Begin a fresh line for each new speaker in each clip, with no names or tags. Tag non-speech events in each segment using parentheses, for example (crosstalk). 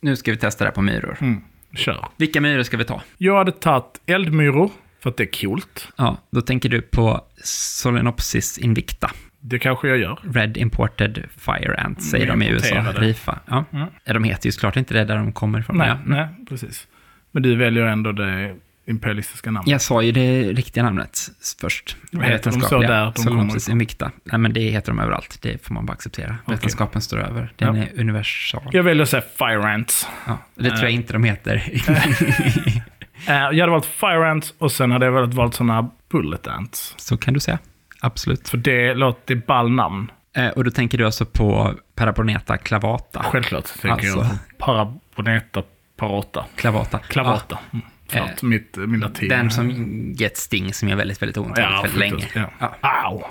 Nu ska vi testa det här på myror.
Mm. Kör.
Vilka myror ska vi ta?
Jag hade tagit eldmyror, för att det är coolt.
Ja, då tänker du på Solenopsis invicta.
Det kanske jag gör.
Red Imported Fire Ants säger de i USA.
Importerade. Mm.
Rifa. Ja. ja, de heter ju såklart inte det där de kommer ifrån.
Nej,
Ja.
nej, precis. Men du väljer ändå det imperialistiska namnet.
Jag sa ju det riktiga namnet s- först.
Vad heter de?
Vetenskapliga.
Så där de
Solenopsis
kommer
invicta. Nej, men det heter de överallt. Det får man bara acceptera. Vetenskapen står över. Den
Ja.
är universal. Ja.
Jag väljer att säga Fire Ants.
Det tror jag inte de
(laughs)
heter.
Eh, jag hade valt Fire Ants och sen hade jag väl valt sådana Bullet Ants.
Så kan du säga. Absolut.
För det låter, det är ball namn.
Eh, Och då tänker du alltså på Paraponeta clavata.
Självklart tänker
Alltså.
jag på Paraboneta Parota.
Clavata.
Clavata. Mm. Förlåt, mitt, min
Ja,
latin.
den som gett sting som gör väldigt, väldigt ont
Ja,
väldigt, väldigt
fruktansvärt.
länge.
Ja.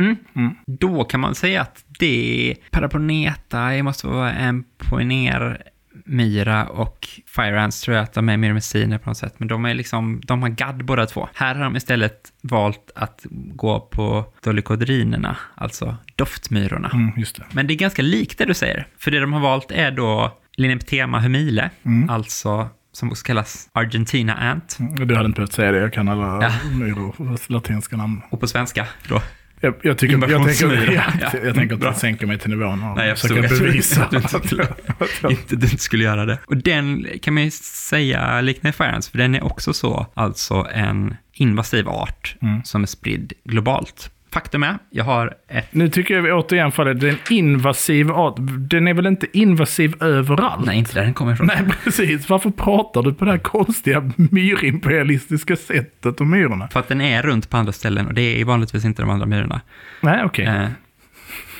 Ja.
Au!
Då kan man säga att det Paraponeta det måste vara en poener myra och Firehands tror jag att de är myrmessiner på något sätt, men de är liksom, de har gadd båda två. Här har de istället valt att gå på dolikodrinerna, alltså doftmyrorna.
Mm, just det.
Men det är ganska likt det du säger. För det de har valt är då Lineptema humile, alltså som också kallas Argentina Ant.
Mm, Du hade inte behövt säga det, jag kan alla myror, latinska namn.
Och på svenska då.
Jag, jag, tycker, jag, tänker,
Invasionsmyror.
(laughs) jag,
Ja.
jag tänker inte sänka mig till nivån och
Nej, jag
försöka
förstod.
bevisa
(laughs) Jag trodde inte
att
att
jag, att jag
Inte att du inte skulle göra det. Och den kan man ju säga liknar Firehands, för den är också så, alltså en invasiv art som är spridd globalt. Faktum är, jag har ett...
Nu tycker jag vi återigen faller, det är en invasiv art. Den är väl inte invasiv överallt?
Nej, inte där den kommer ifrån.
Nej, (laughs) precis. Varför pratar du på det här konstiga (laughs) myrimperialistiska sättet om myrorna?
För att den är runt på andra ställen och det är vanligtvis inte de andra myrorna.
Nej, okej.
Eh,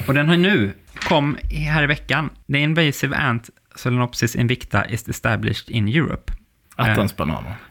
och den har nu, kom i- här i veckan. The invasive ant Solenopsis invicta is established in Europe.
Attans bananer.